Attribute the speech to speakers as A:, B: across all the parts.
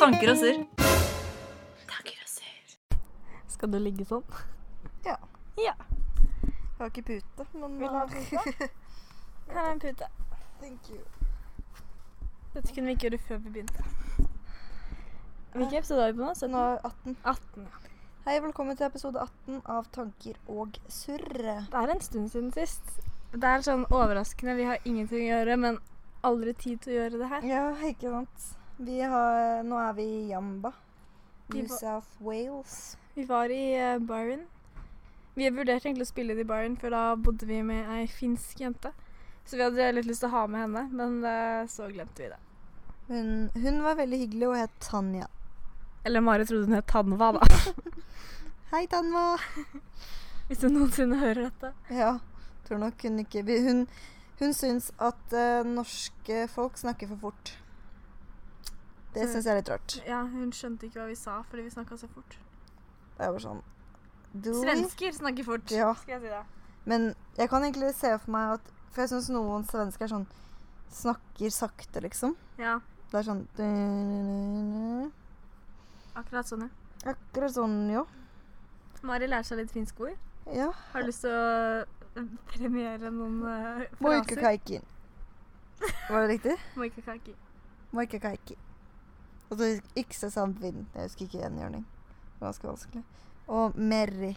A: Tanker og surr. Tanker og surr.
B: Skal du ligge sånn?
C: Ja.
B: Ja.
C: Jeg har ikke pute, men eh,
B: Vil du ha pute? Her er en pute.
C: Thank you.
B: Dette kunne vi ikke gjøre før vi begynte. Hvilken episode er vi på nå?
C: Den var 18.
B: 18. ja.
C: Hei, velkommen til episode 18 av Tanker og surre.
B: Det er en stund siden sist. Det er sånn overraskende. Vi har ingenting å gjøre, men aldri tid til å gjøre det her.
C: Ja, ikke sant. Vi har, nå er vi i Jamba.
B: Vi
C: New
B: var-
C: South Wales.
B: Vi var i eh, Byron. Vi vurderte egentlig å spille det i Byron, for da bodde vi med ei finsk jente. Så vi hadde litt lyst til å ha med henne, men eh, så glemte vi det.
C: Hun, hun var veldig hyggelig og het Tanja.
B: Eller Mari trodde hun het Tanva, da.
C: Hei, Tanva!
B: Hvis hun noensinne hører dette.
C: Ja, tror nok hun ikke vi- Hun, hun syns at eh, norske folk snakker for fort. Det syns jeg er litt rart.
B: Ja, hun skjønte ikke hva vi sa fordi vi snakka så fort.
C: Det er bare sånn Do we?
B: Svensker snakker fort,
C: Ja.
B: skal jeg si deg.
C: Men jeg kan egentlig se for meg at For jeg syns noen svensker sånn snakker sakte, liksom.
B: Ja,
C: Det er sånn
B: akkurat sånn, ja.
C: Akkurat sånn, jo.
B: Mari lærer seg litt finske ord.
C: Ja.
B: Har du lyst til å eh, premiere noen eh,
C: Moika
B: fraser?
C: kaikin. Var det riktig?
B: Moikakaki.
C: Moika kaikin. Og så ykse samvinn. Jeg husker ikke gjengjørning. Det var ganske vanskelig. Og merri.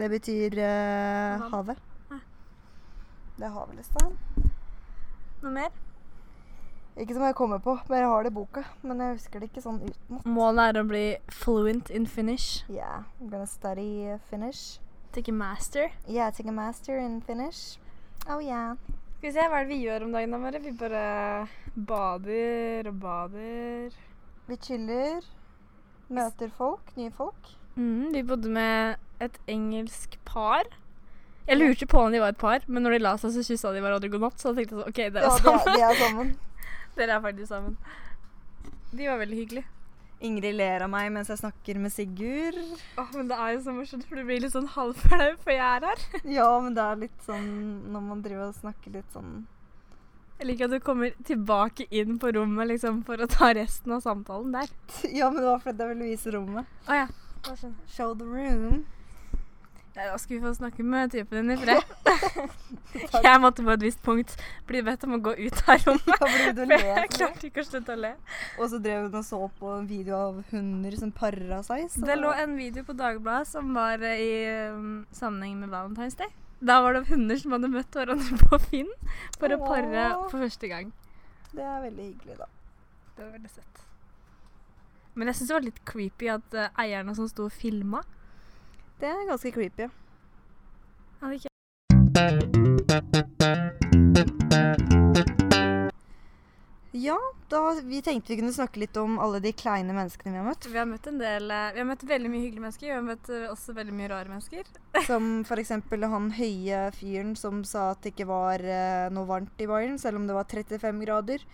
C: Det betyr eh,
B: Vann.
C: havet.
B: Ah.
C: Det er havet, liksom.
B: Noe mer?
C: Ikke som jeg kommer på, men jeg har det i boka. Men jeg husker det ikke sånn utenat.
B: Målet er å bli fluent in Finnish.
C: Yeah, I'm gonna study uh, Finnish.
B: Take a master.
C: Yeah, take a master in Finnish. Oh yeah.
B: Skal vi se, hva er det vi gjør om dagen da, Mari? Vi bare bader og bader.
C: Vi chiller. Møter folk. Nye folk.
B: Mm, vi bodde med et engelsk par. Jeg lurte på om de var et par, men når de la seg, så kyssa de hverandre god natt. Så da tenkte jeg sånn, OK, dere
C: Ja, altså.
B: er
C: de er,
B: sammen.
C: de er sammen.
B: Dere er faktisk sammen. De var veldig hyggelige.
C: Ingrid ler av meg mens jeg snakker med Sigurd.
B: Åh, men det er jo så morsomt, for du blir litt sånn halvflau for jeg er her.
C: Ja, men det er litt sånn når man driver og snakker litt sånn
B: Jeg liker at du kommer tilbake inn på rommet liksom, for å ta resten av samtalen der.
C: Ja, men det var fordi jeg ville vise rommet.
B: Å ja.
C: Show the room.
B: Nei, Da skal vi få snakke med typen din i fred. Jeg måtte på et visst punkt bli bedt om å gå ut av rommet.
C: Da ble du
B: For
C: le.
B: jeg
C: sånn.
B: klarte ikke å slutte å le.
C: Og så drev hun og så på en video av hunder som para seg. Så
B: Det lå en video på Dagbladet som var eh, i eh, sammenheng med Valentine's Day. Da var det hunder som hadde møtt hverandre på Finn for å pare
C: Åh.
B: for første gang.
C: det er veldig hyggelig, da.
B: Det var veldig søtt. Men jeg syns det var litt creepy at eh, eierne som sto og filma
C: Det er ganske creepy.
B: Hadde ikke
C: Ja, da vi tenkte vi kunne snakke litt om alle de kleine menneskene vi har møtt.
B: Vi har møtt en del eh, Vi har møtt veldig mye hyggelige mennesker. Vi har møtt eh, også veldig mye rare mennesker.
C: Som f.eks. han høye fyren som sa at det ikke var eh, noe varmt i Bayern, selv om det var 35 grader.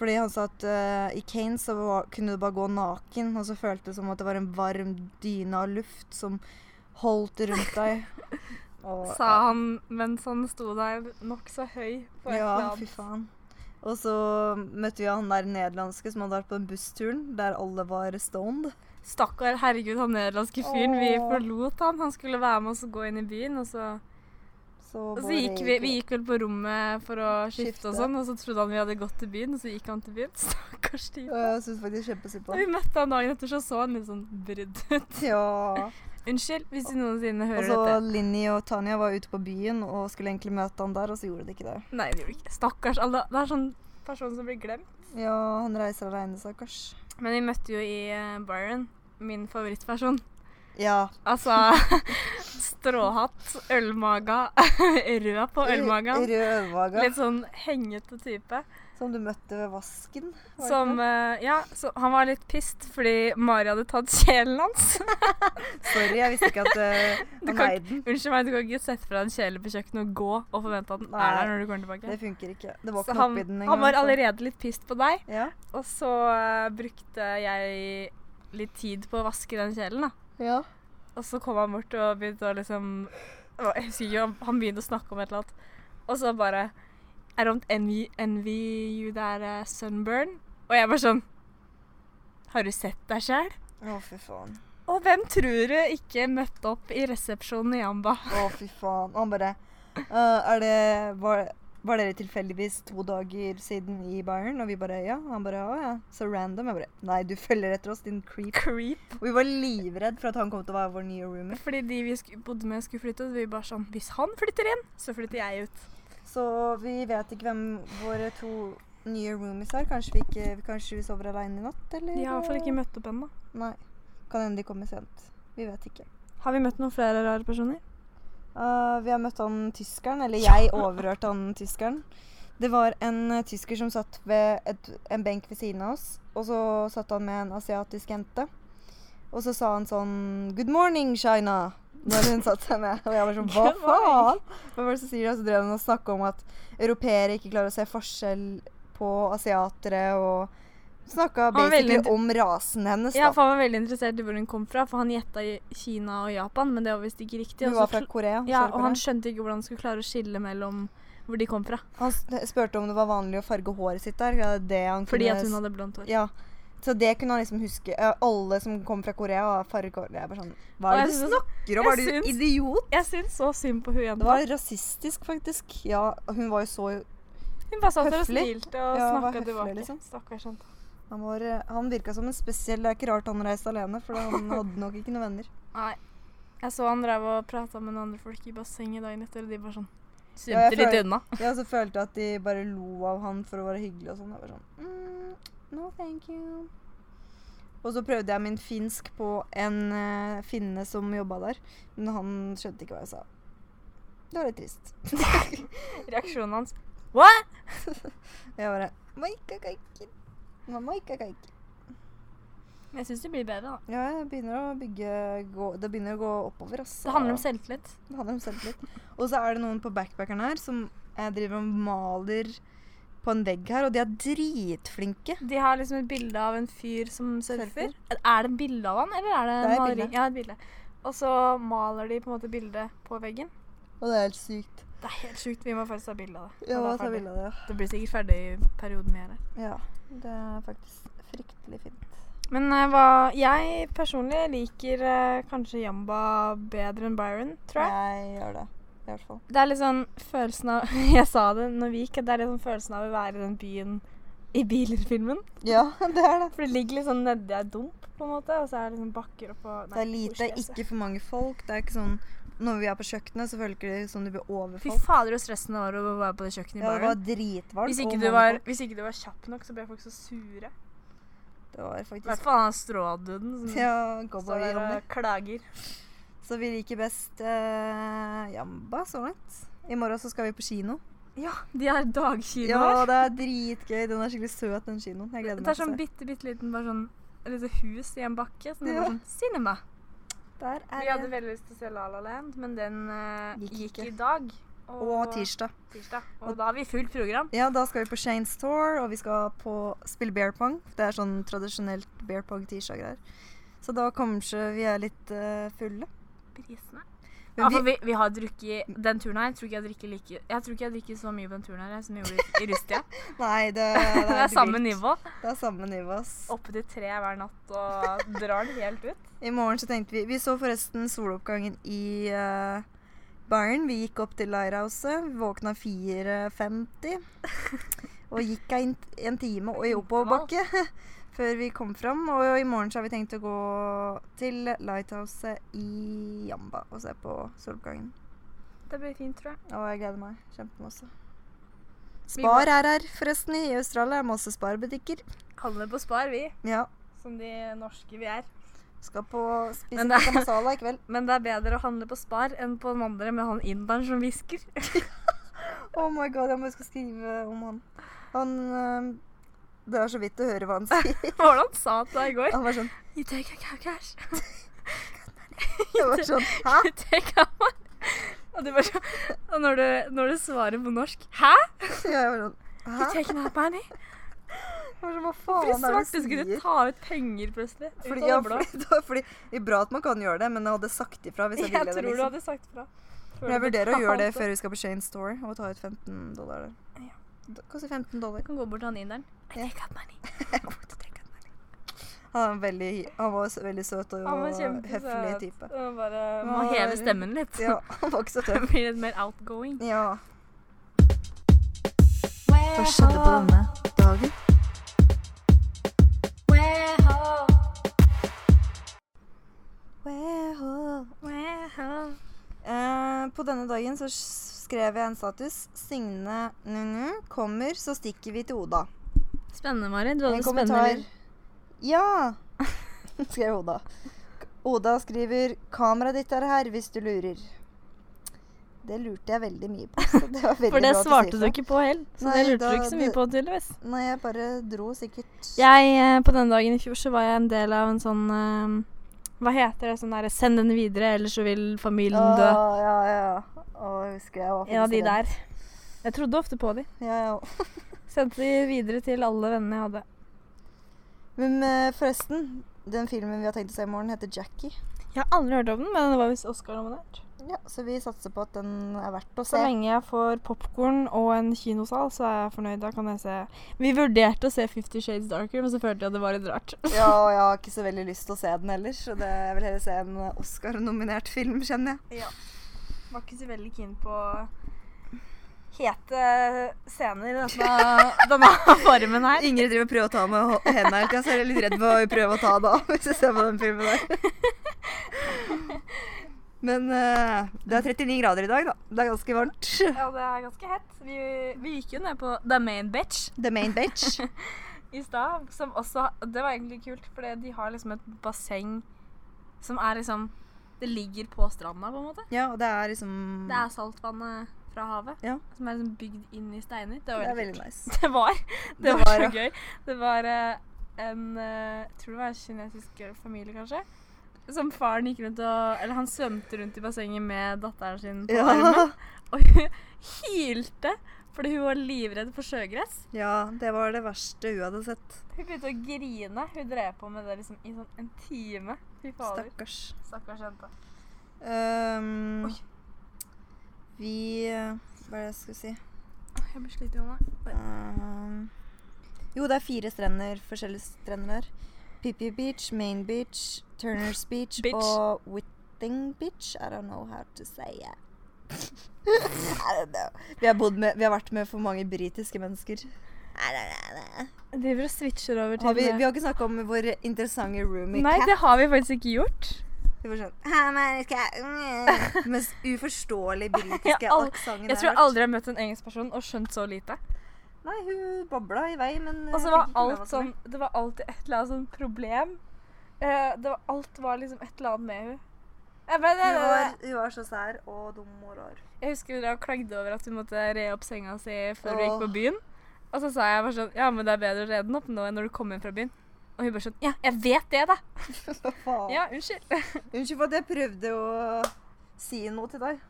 C: Fordi han sa at eh, i Kane så var, kunne du bare gå naken, og så føltes det som at det var en varm dyne av luft som holdt rundt deg. Og,
B: Sa han mens han sto der nokså høy på et
C: ja,
B: eller
C: fy
B: annet.
C: faen. Og så møtte vi han der nederlandske som hadde vært på den bussturen der alle var stoned.
B: Stakkar, herregud, han nederlandske fyren. Vi
C: Åh.
B: forlot han. Han skulle være med oss og gå inn i byen, og så
C: Så,
B: Og så
C: bare
B: gikk vi, vi gikk vel på rommet for å skifte, og
C: Skifte.
B: sånn, og så trodde han vi hadde gått til byen, og så gikk han til byen. Stakkars
C: Og
B: type.
C: jeg syns faktisk kjempesynd på
B: Da
C: ham.
B: vi møtte han dagen etter, så så han litt sånn brydd ut.
C: Ja.
B: Unnskyld hvis du noensinne
C: Og
B: hører
C: så
B: dette.
C: Linni og Tanja var ute på byen og skulle egentlig møte han der, og så gjorde de ikke det.
B: Nei, det gjorde vi ikke. Stakkars. Alle, det er sånn person som blir glemt.
C: Ja, han reiser aleine, stakkars.
B: Men vi møtte jo i eh, Byron min favorittperson.
C: Ja.
B: Altså stråhatt, ølmaga, rød på ølmagen.
C: Rød ølmage.
B: Litt sånn hengete type.
C: Som du møtte ved vasken. var det
B: Som
C: ikke
B: eh, Ja, så han var litt pissed fordi Mari hadde tatt kjelen hans.
C: det? Sorry, jeg visste ikke at eh,
B: Du
C: han
B: kan
C: eide den.
B: Unnskyld meg, du kan ikke sette fra en kjele på kjøkkenet og gå og forvente at den
C: Nei,
B: er der når du kommer
C: Det
B: tilbake.
C: funker ikke. Det
B: Så
C: var ikke noe
B: han,
C: oppi den
B: han var
C: så-
B: allerede litt pissed på deg,
C: Ja.
B: og så eh, brukte jeg litt tid på å vaske den kjelen, da.
C: ja.
B: Og så kom han bort og begynte å liksom Å, Jeg husker ikke, han- han begynte å snakke om et eller annet. Og så bare I don't envy, envy you that eh, sunburn. Og jeg bare sånn Har du sett deg sjæl?
C: Å, fy faen.
B: Og hvem tror du ikke møtte opp i resepsjonen i Jamba?
C: Å, fy faen. Og han bare «Øh, Er det var, var dere tilfeldigvis to dager siden i Bayern? Og vi bare Ja. Han bare Å ja. Så random. Jeg bare Nei, du følger etter oss, din creep.
B: Creep.
C: Og vi var livredd for at han kom til å være vår nye roomie.
B: Fordi de vi sku- bodde med, skulle flytte, og vi bare sånn Hvis han flytter inn, så flytter jeg ut.
C: Så vi vet ikke hvem våre to nye roomies er. Kanskje vi, ikke, kanskje vi sover aleine i natt, eller?
B: De har i hvert fall ikke møtt opp ennå.
C: Nei. Kan hende de kommer sent. Vi vet ikke.
B: Har vi møtt noen flere rare personer?
C: Eh, vi har møtt han tyskeren, eller jeg overhørte han tyskeren. Det var en eh, tysker som satt ved et, en benk ved siden av oss, og så satt han med en asiatisk jente. Og så sa han sånn 'Good morning, China', når hun satte seg ned. Og jeg var sånn Hva
B: Good morning."
C: faen? Hva var det som sier det? Og så drev han og snakka om at europeere ikke klarer å se forskjell på asiatere, og snakka
B: var veldig
C: basically om rasen hennes,
B: Ja,
C: da.
B: for han var veldig interessert i hvor hun kom fra, for han gjetta i Kina og Japan, men det var visst ikke riktig.
C: Hun
B: og
C: var
B: så
C: fra
B: kl-
C: Korea.
B: ja,
C: Sør-Korea.
B: og han skjønte ikke hvordan han skulle klare å skille mellom hvor de kom fra.
C: Han s- spurte om det var vanlig å farge håret sitt der. ja, Det han
B: Fordi
C: kunne
B: at hun
C: s-
B: hadde blondt hår.
C: Ja. Så det kunne han liksom huske. Ja, Alle som kom fra Korea, har farge hår. Jeg er bare sånn Hva
B: Og
C: er
B: jeg
C: det du
B: synes-
C: snakker om?
B: jeg
C: Er du
B: synes-
C: idiot?
B: Jeg syns så synd på hun
C: Det
B: jenta.
C: var rasistisk, faktisk. Ja, hun var jo så
B: Hun bare satt der og
C: høflig.
B: smilte og
C: Ja, var
B: snakka
C: høflig,
B: tilbake.
C: liksom.
B: Stakkars jente.
C: Han, var, eh, han virka som en spesiell Det er ikke rart han reiste alene, for han hadde nok ikke noen venner.
B: Nei. Jeg så han drev og prata med noen andre folk i bassenget dagen etter, og de bare sånn
C: Ja, jeg
B: Svømte litt
C: føler-
B: unna.
C: Jeg også følte at de bare lo av han for å være hyggelig og sånn. Jeg var sånn mm, No, thank you. Og så prøvde jeg min finsk på en eh, finne som jobba der, men han skjønte ikke hva jeg sa. Det var litt trist.
B: Reaksjonen hans What?
C: Jeg bare Maika kaikin. Maika kaikin.
B: Jeg syns det blir bedre, da.
C: Ja, jeg begynner å bygge gå, Det begynner å gå oppover, ass.
B: Det handler om selvtillit.
C: Det handler om selvtillit. Og så er det noen på backpackeren her som eh, driver og maler på en vegg her, og de er dritflinke.
B: De har liksom et bilde av en fyr som surfer.
C: Surfer.
B: Er det bilde av han, eller er det,
C: Det er et
B: maleri?
C: bilde.
B: Ja, et bilde. Og så maler de på en måte bildet på veggen.
C: Og det er helt sykt.
B: Det er helt sjukt. Vi må faktisk ta bilde av det.
C: Ja,
B: når det
C: hva
B: er
C: sa
B: ferdig.
C: Villa det?
B: det blir sikkert ferdig i perioden vi er her.
C: Ja, det er faktisk fryktelig fint.
B: Men eh, hva Jeg personlig liker eh, kanskje Jamba bedre enn Byron, tror jeg.
C: Jeg gjør det, i hvert fall.
B: Det er litt sånn følelsen av Jeg sa det når vi gikk, at det er litt sånn følelsen av å være i den byen i biler-filmen.
C: Ja, det er det.
B: For det ligger litt sånn nedi ei dump, på en måte, og så er det liksom bakker oppå
C: Det er lite,
B: altså.
C: ikke for mange folk. Det er ikke sånn Når vi er på kjøkkenet, så føler det ikke som du blir
B: Fy
C: overfalt.
B: fader, så stressen det var å være på det kjøkkenet i
C: Ja, det var
B: baren.
C: dritvarmt.
B: Hvis
C: og
B: ikke, du
C: mange
B: var,
C: folk.
B: hvis ikke du var kjapp nok, så ble folk så sure.
C: Det var
B: I hvert
C: faktisk
B: fall han stråduden som
C: Ja, altså, cowboy
B: står der
C: Ronny.
B: og klager.
C: Så vi liker best eh, Jamba så langt. I morgen så skal vi på kino.
B: Ja, de har dagkino
C: Ja,
B: her.
C: det er dritgøy. Den er skikkelig søt, den kinoen. Jeg gleder
B: Det
C: meg
B: er sånn
C: til å se.
B: bitte, bitte liten bare sånn et lite hus i en bakke. Sånn, det er
C: Ja.
B: bare sånn Cinema.
C: Der
B: Vi
C: er
B: hadde
C: det.
B: veldig lyst til å se La La Land, men den eh,
C: Gikk
B: gikk,
C: ikke.
B: i dag.
C: Og tirsdag.
B: tirsdag. Og da har vi fullt program.
C: Ja, da skal vi på Shane's Tour, og vi skal på spille bear pong. Det er sånn tradisjonelt bear pong-tirsdag-greier. Så da kanskje vi er litt eh, fulle.
B: Prisene. Ja,
C: Men
B: for
C: vi,
B: vi, vi har drukket den turen her. Jeg tror ikke jeg drikker, like, jeg tror ikke jeg drikker så mye på den turen her som jeg gjorde i- i Rustia.
C: nei, det,
B: Det er samme
C: drygt.
B: nivå.
C: Det er samme nivå, ass.
B: Oppe til tre hver natt og drar den helt ut.
C: I morgen så tenkte vi Vi så forresten soloppgangen i eh, Bayern. Vi gikk opp til Leirhuset. Vi våkna 4.50 og gikk en, en time og i oppoverbakke før vi kom fram. Og i morgen så har vi tenkt å gå til Lighthouset i Jamba og se på soloppgangen.
B: Det blir fint, tror jeg.
C: Og jeg gleder meg kjempemasse.
B: Vi
C: Spar er her, forresten. I Australia er masse Spar-butikker.
B: handler på Spar, vi.
C: Ja.
B: Som de norske vi er.
C: Skal på spise
B: Men det-
C: pizza masala i kveld.
B: Men det er bedre å handle på Spar enn på den andre med han inderen som hvisker.
C: Oh my god, jeg må huske å skrive om han. Han øhm, Det er så vidt å høre hva han sier.
B: Hvordan sa han det i går?
C: Han var sånn,
B: You take a cash.
C: jeg var sånn Hæ?
B: You take a Og, du bare, så- og når, du, når du svarer på norsk Hæ?
C: Så jeg var sånn Hæ?
B: You take that money?
C: Jeg var sånn, Hva
B: Hvorfor i
C: faen er det
B: svarte
C: du
B: skulle du
C: sier?
B: ta ut penger plutselig? Ut
C: Fordi,
B: av
C: ja,
B: det blå.
C: fordi, det var fordi, det er bra at man kan gjøre det, men jeg hadde sagt ifra hvis jeg,
B: Jeg
C: ville det.
B: tror du
C: Liksom.
B: hadde sagt fra. før
C: Men jeg
B: du
C: vurderer å gjøre det
B: betalte.
C: før vi skal på Shane Store og ta ut 15 dollar der.
B: Ja.
C: Det koster 15 dollar.
B: Du kan gå bort til han inderen. I
C: Ja.
B: take that money.
C: Jeg kommer til å tenke at- Han, er en veldig, han var s- veldig søt og
B: Han var
C: høflig
B: kjempesøt.
C: type.
B: Og bare
A: Må
C: Nei.
A: heve stemmen litt.
C: Ja, han var ikke så
A: Det
C: tøff.
A: blir litt mer outgoing.
C: Ja. Hva skjedde på denne dagen? Weho.
B: Wow.
C: Eh, på denne dagen så s- skrev jeg en status. Signe Nunu kommer, så stikker vi til Oda.
A: Spennende, Marit. Du
C: En
A: hadde spennende
C: kommentar.
A: liv.
C: Ja! skrev Oda. Oda skriver 'Kameraet ditt er her hvis du lurer'. Det lurte jeg veldig mye på. Så det var veldig
B: For det
C: bra at
B: svarte
C: du
B: du
C: sier fra.
B: ikke på heller. Så
C: Nei,
B: det lurte
C: da-
B: du ikke så mye
C: det-
B: på, tydeligvis.
C: Nei, jeg bare dro sikkert
B: Jeg, eh, på denne dagen i fjor så var jeg en del av en sånn eh, Hva heter det? Sånn derre 'send den videre, ellers så vil familien dø'.
C: Å, ja, ja. Å, husker jeg var
B: En av de
C: faktisk redd.
B: der. Jeg trodde ofte på de.
C: Ja, ja.
B: Sendte de videre til alle vennene jeg hadde.
C: Men eh, forresten, den filmen vi har tenkt å se i morgen, heter Jackie.
B: Jeg har aldri hørt om den, men den var visst Oscar-nominert.
C: Ja, Så vi satser på at den er verdt å
B: Så
C: se.
B: lenge jeg får popkorn og en kinosal, så er jeg fornøyd. Da kan jeg se Vi vurderte å se Fifty Shades Darker, men så følte jeg det var litt rart.
C: Ja, og jeg har ikke så veldig lyst til å se den heller, så det, jeg vil heller se en Oscar-nominert film, kjenner jeg.
B: Var ikke så veldig keen på hete scener i denne, denne formen her.
C: Ingrid driver og prøver å ta med hå- hendene hele tida, så jeg er litt redd for å prøve å ta det av hvis jeg ser på den filmen der. Men eh, det er 39 grader i dag, da. Det er ganske varmt.
B: Ja, det er ganske hett. Vi, vi gikk jo ned på The Main Bitch
C: The main bitch.
B: i stad, som også Det var egentlig kult, for de har liksom et basseng som er liksom Det ligger på stranda, på en måte.
C: Ja, og det er liksom
B: Det er saltvannet fra havet
C: Ja.
B: som er liksom bygd inn i steiner. Det
C: det
B: var
C: er
B: veldig
C: veldig nice.
B: kult. Det var, det
C: Det
B: var
C: var,
B: så
C: ja.
B: gøy. Det var eh, en eh, Jeg tror det var en kinesisk eh, familie, kanskje. Som faren gikk rundt og Eller han svømte rundt i bassenget med datteren sin på armen.
C: Ja,
B: Og hun hylte fordi hun var livredd for sjøgress.
C: ja, det var det verste hun hadde sett.
B: Hun begynte å grine. Hun drev på med det liksom i sånn en time. Fy fader.
C: Stakkars.
B: Stakkars jente.
C: Ehm,
B: Oi.
C: vi eh, Hva er det jeg skulle si?
B: Jeg blir sliten i hånda.
C: Ehm, jo, det er fire strender, forskjellige strender her. Pippi Beach, Main Beach, Turner's Beach
B: Bitch.
C: og Whitting Beach. I don't know how to say it. I don't know. Vi har, bodd med, vi har vært med for mange britiske mennesker. I don't know.
B: Driver og switcher over til
C: Har vi, vi har ikke snakka om vår interessante roomie
B: Nei,
C: Kat.
B: det har vi faktisk ikke gjort.
C: Vi var sånn «Hæ, men skal jeg- mm», Med s- uforståelig britiske
B: al-
C: aksenten.
B: Jeg tror aldri jeg har møtt en engelsk person og skjønt så lite.
C: Nei, hun babla i vei, men
B: Og så
C: jeg
B: var
C: fikk ikke med meg
B: alt
C: så mye.
B: sånn Det var alltid et eller annet sånn problem. Eh, det var, alt var liksom et eller annet med henne. Jeg, bare,
C: Hun var, hun var så sær og dum og rar.
B: jeg husker dere klagde over at hun måtte re opp senga si før vi gikk på
C: Åh.
B: byen. Og så sa jeg bare sånn Ja, men det er bedre å re den opp nå enn når du kommer hjem fra byen. Og hun bare sånn Ja, jeg vet det, da.
C: Hva faen?
B: Ja, unnskyld.
C: Unnskyld for at jeg prøvde å si noe til deg.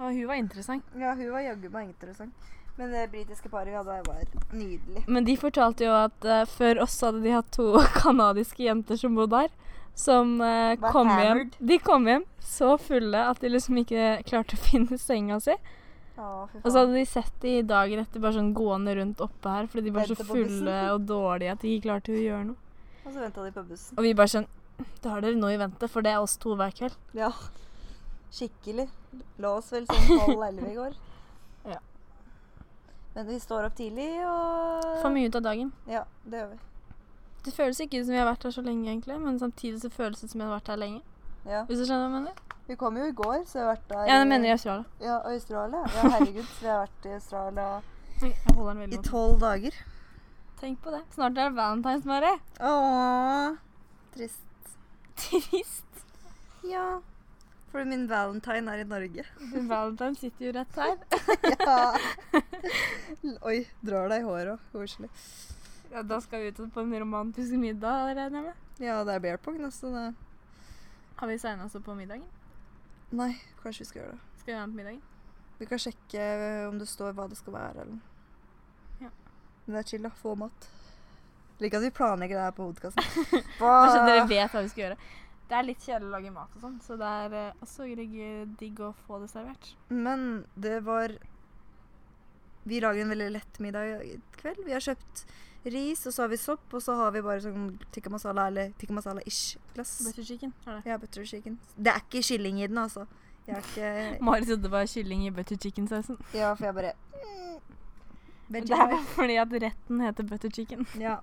B: Og hun var interessant.
C: Ja, hun var jaggu meg interessant. Men det britiske paret vi hadde, var nydelig.
B: Men de fortalte jo at eh, før oss hadde de hatt to kanadiske jenter som bodde her. Som eh,
C: Var
B: kom hjem
C: hammered.
B: De kom hjem så fulle at de liksom ikke klarte å finne senga si.
C: Å, fy
B: Og så
C: faen.
B: hadde de sett de dagen etter bare sånn gående rundt oppe her fordi de var så
C: Vente på bussen.
B: fulle og dårlige at de ikke klarte å gjøre noe.
C: Og så venta de på bussen.
B: Og vi bare sånn Da har dere noe i vente, for det er oss to hver kveld.
C: Ja. Skikkelig. La oss vel sånn halv elleve i går.
B: Ja.
C: Men vi står opp tidlig og
B: Får mye ut av dagen.
C: Ja, det gjør vi.
B: Det føles ikke ut som vi har vært her så lenge, egentlig, men samtidig så føles det som vi har vært her lenge.
C: Ja.
B: Hvis du skjønner hva jeg mener?
C: Vi kom jo i går, så vi har vært der
B: Ja, det mener jeg i Australia.
C: Ja, og Australia. Ja, herregud, så vi har vært i Australia
B: Oi, Jeg holder den veldig godt.
C: tolv dager.
B: Tenk på det. Snart er det valentines, Mari.
C: Åh, trist.
B: Trist.
C: Ja. For min valentine er i Norge.
B: Valentine sitter jo rett her.
C: Ja. Oi, drar deg i håret òg. Koselig.
B: Ja, da skal vi ut på en romantisk middag, regner jeg med.
C: Ja, det er bear pong, da, så det
B: Har vi signa oss opp på middagen?
C: Nei, kanskje vi skal gjøre det.
B: Skal vi være med på middagen?
C: Vi kan sjekke eh, om det står hva det skal være, eller
B: Ja.
C: Men det er chill, da. Få mat. Liker at vi planlegger det her på podkasten.
B: Kanskje dere vet hva vi skal gjøre. Det er litt kjedelig å lage mat og sånn, så det er eh, også digg- digg å få det servert.
C: Men det var Vi lager en veldig lett middag i kveld. Vi har kjøpt ris, og så har vi sopp, og så har vi bare sånn tikka masala eller tikka masala-ish glass.
B: Butter chicken. Har det.
C: Ja, butter chicken. Det er ikke kylling i den, altså. Jeg er ikke
B: Mari trodde det var kylling i butter chicken-sausen.
C: Ja, for jeg bare mm.
B: Det
C: Veggie
B: er
C: pie.
B: bare fordi at retten heter butter chicken.
C: Ja.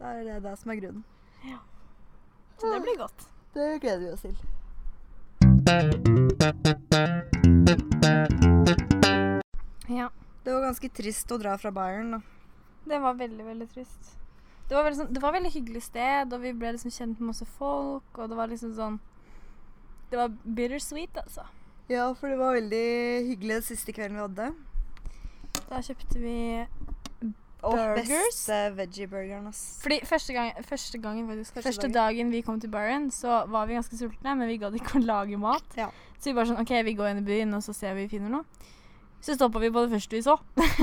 C: Da er det det som er grunnen.
B: Så det blir godt.
C: Det gleder vi oss til.
B: Ja.
C: Det var ganske trist å dra fra Bayern, da.
B: Det var veldig, veldig trist. Det var veldig, sånn, det var veldig hyggelig sted, og vi ble liksom kjent med masse folk, og det var liksom sånn Det var bittersweet, altså.
C: Ja, for det var veldig hyggelig den siste kvelden vi hadde.
B: Da kjøpte vi
C: Og
B: Burgers.
C: beste veggieburgeren, ass.
B: Fordi første, gang, første gangen faktisk,
C: Første
B: første dagen vi kom til Byron, så var vi ganske sultne, men vi gadd ikke å lage mat.
C: Ja.
B: Så vi bare sånn OK, vi går inn i byen, og så ser vi om vi finner noe. Så stoppa vi på det første vi så.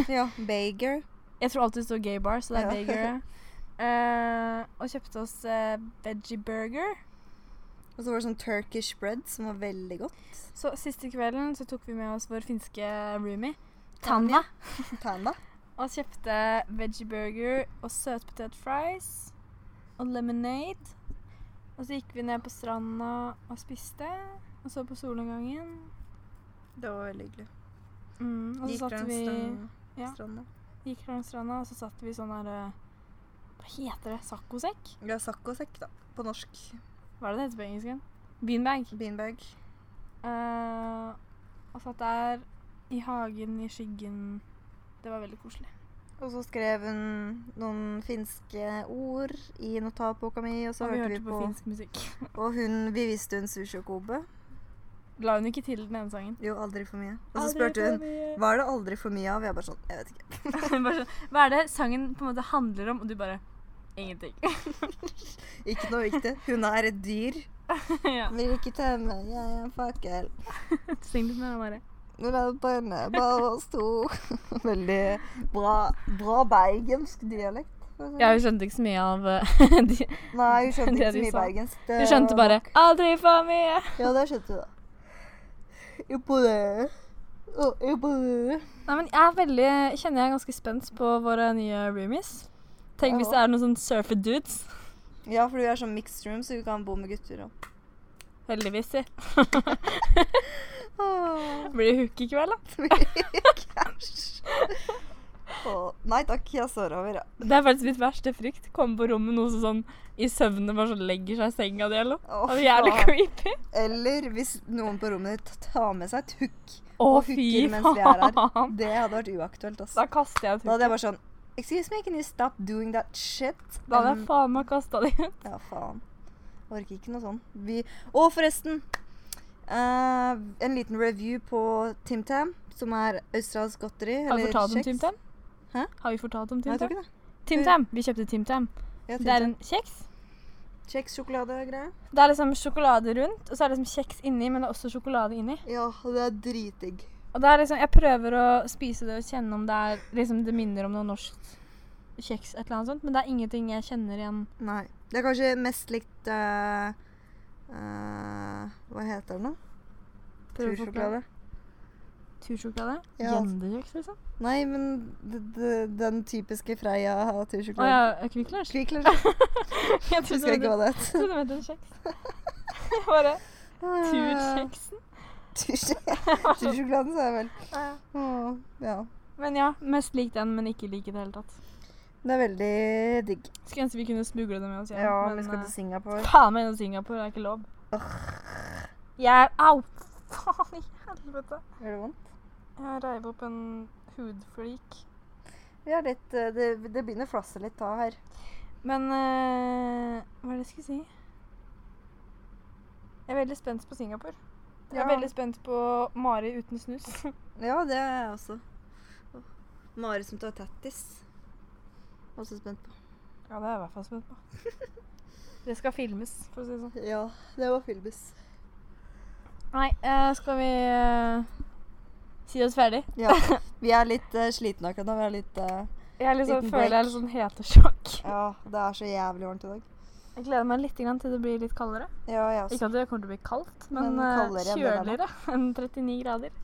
C: Ja, Bager.
B: Jeg tror alltid det står gay bar, så det er
C: Ja.
B: bager. ja. Eh, og kjøpte oss eh, veggie burger.
C: Og så var det sånn Turkish bread, som var veldig godt.
B: Så siste kvelden så tok vi med oss vår finske roomie, Tanja,
C: Tanda.
B: og kjøpte veggie burger og søtpotet fries og lemonade. Og så gikk vi ned på stranda og spiste, og så på solnedgangen.
C: Det var veldig hyggelig.
B: Mm, og så
C: Gikk
B: satt
C: langs
B: vi
C: den
B: ja.
C: stranda.
B: gikk langs stranda, og så satt vi i sånn her eh, Hva heter det? Saccosekk?
C: Ja, saccosekk, da. På norsk.
B: Hva er det det heter på engelsk? igjen? Beanbag.
C: Beanbag.
B: Eh, og satt der i hagen, i skyggen. Det var veldig koselig.
C: Og så skrev hun noen finske ord i notatboka mi, og så
B: og vi
C: hørte
B: hørte på, finsk musikk.
C: Og hun, vi visste hun sushi og kobe.
B: La hun ikke til den ene sangen?
C: Jo, aldri for mye. Og så spurte hun
B: hun
C: hva er det aldri for mye av? Jeg bare sånn, jeg vet ikke.
B: sånn, Hva er det sangen på en måte handler om? Og du bare Ingenting.
C: Ikke noe viktig. Hun er et dyr.
B: ja.
C: Vil ikke temme, jeg er en fakkel.
B: Syng litt mer, Mari.
C: Nå er det på henne, bare oss to. Veldig bra, bra bergensk dialekt. for å si
B: Ja,
C: det.
B: hun skjønte ikke så mye av eh, de,
C: Nei, hun
B: det
C: skjønte ikke
B: du
C: så mye
B: sa.
C: bergensk. Det
B: Hun skjønte bare 'aldri for mye'.
C: Ja, det skjønte hun, da. Imponerer. Å, Imponerer.
B: Nei, men jeg er veldig, kjenner jeg er ganske spent på våre nye roomies. Tenk hvis det er noen sånn surfer dudes.
C: Ja, for du er sånn mixed room, så du kan bo med gutter og
B: Heldigvis, si. Blir det hook i kveld, da?
C: Å, Nei takk, jeg står over. ja.
B: Det er faktisk mitt verste frykt. Komme på rommet med noen som sånn i søvne bare sånn legger seg i senga di eller noe.
C: Å,
B: Det er jævlig
C: faen.
B: creepy.
C: Eller hvis noen på rommet ditt tar med seg et hook.
B: Å,
C: Og
B: fy
C: hooker mens vi er her.
B: faen.
C: Det hadde vært uaktuelt. altså. ass.
B: Da kaster jeg et
C: Da
B: huk.
C: hadde jeg bare sånn Excuse me, can you stop doing that shit?
B: Da hadde jeg
C: Um,
B: faen meg kasta det ut.
C: Ja, faen. Orker ikke noe sånn. Vi Å, forresten! eh, en liten review på Tim Tam, som er australsk godteri.
B: Har vi
C: eller
B: fortalt om
C: kjeks.
B: Tim Tam?
C: Hæ?
B: Har vi fortalt om
C: Nei,
B: Tim
C: jeg tror
B: Tam?
C: ikke det.
B: Tim Tam. Vi kjøpte Tim Tam.
C: Ja, Tim
B: Det er
C: Tam.
B: en kjeks.
C: Kjeks, sjokolade og greier.
B: Det er liksom sjokolade rundt, og så er det liksom kjeks inni, men det er også sjokolade inni.
C: Ja, det er dritdigg.
B: Og det er liksom, Jeg prøver å spise det og kjenne om det er liksom det minner om noe norsk kjeks, et eller annet sånt, men det er ingenting jeg kjenner igjen.
C: Nei. Det er kanskje mest likt eh, eh, Hva heter den, da?
B: Prøv å forklare.
C: Tursjokolade?
B: Tursjokolade?
C: Ja.
B: Gjendekjeks, liksom?
C: Nei, men d- d- den typiske Freia
B: Å
C: tursjokolade.
B: ja, Kvikk Lunsj?
C: Kvikk Lunsj.
B: Jeg
C: Husker jeg ikke hva det het.
B: trodde det het en kjeks. Jeg Bare
C: Ah.
B: Turkjeksen.
C: Tursj- Tursjokoladen, sa jeg vel. Åh, Ja.
B: Men ja, mest lik den, men ikke lik i det hele tatt.
C: Det er veldig digg.
B: Skulle ønske vi kunne smugle det med oss hjem.
C: Ja, vi skal
B: eh,
C: til Singapore.
B: faen meg gjennom Singapore, det er ikke lov. Jeg Au! Faen i helvete.
C: Gjør det vondt?
B: Jeg reiv opp en hudflik.
C: Vi er litt, eh, det, det begynner å flasse litt av her.
B: Men eh, hva er det jeg skulle si? Jeg er veldig spent på Singapore. Jeg er
C: Ja.
B: veldig spent på Mari uten snus.
C: Ja, det er jeg også. Åh, Mari som tar tattis. Også spent på.
B: Ja, det er jeg i hvert fall spent på. Det skal filmes, for å si det sånn.
C: Ja, det var filbus.
B: Nei, eh, skal vi eh, si oss ferdig?
C: Ja, vi er litt eh, slitne akkurat nå. Vi er litt eh,
B: Jeg liksom
C: Liten
B: føler jeg
C: break.
B: er litt sånn hetesjokk.
C: Ja, det er så jævlig varmt i dag.
B: Jeg gleder meg litt grann til det blir litt kaldere.
C: Ja, jeg også.
B: Ikke at Altså, det kommer til å bli kaldt, men,
C: Men
B: eh,
C: kaldere enn det der nå.
B: kjøligere enn 39 grader.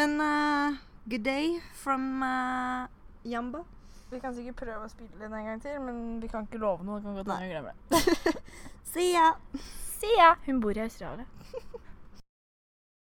C: Men eh, good day from eh, Jamba.
B: Vi kan sikkert prøve å spille den en gang til, men vi kan ikke love noe. Det kan godt hende vi glemmer det.
C: See ya!
B: Se, ja! Hun bor i Australia.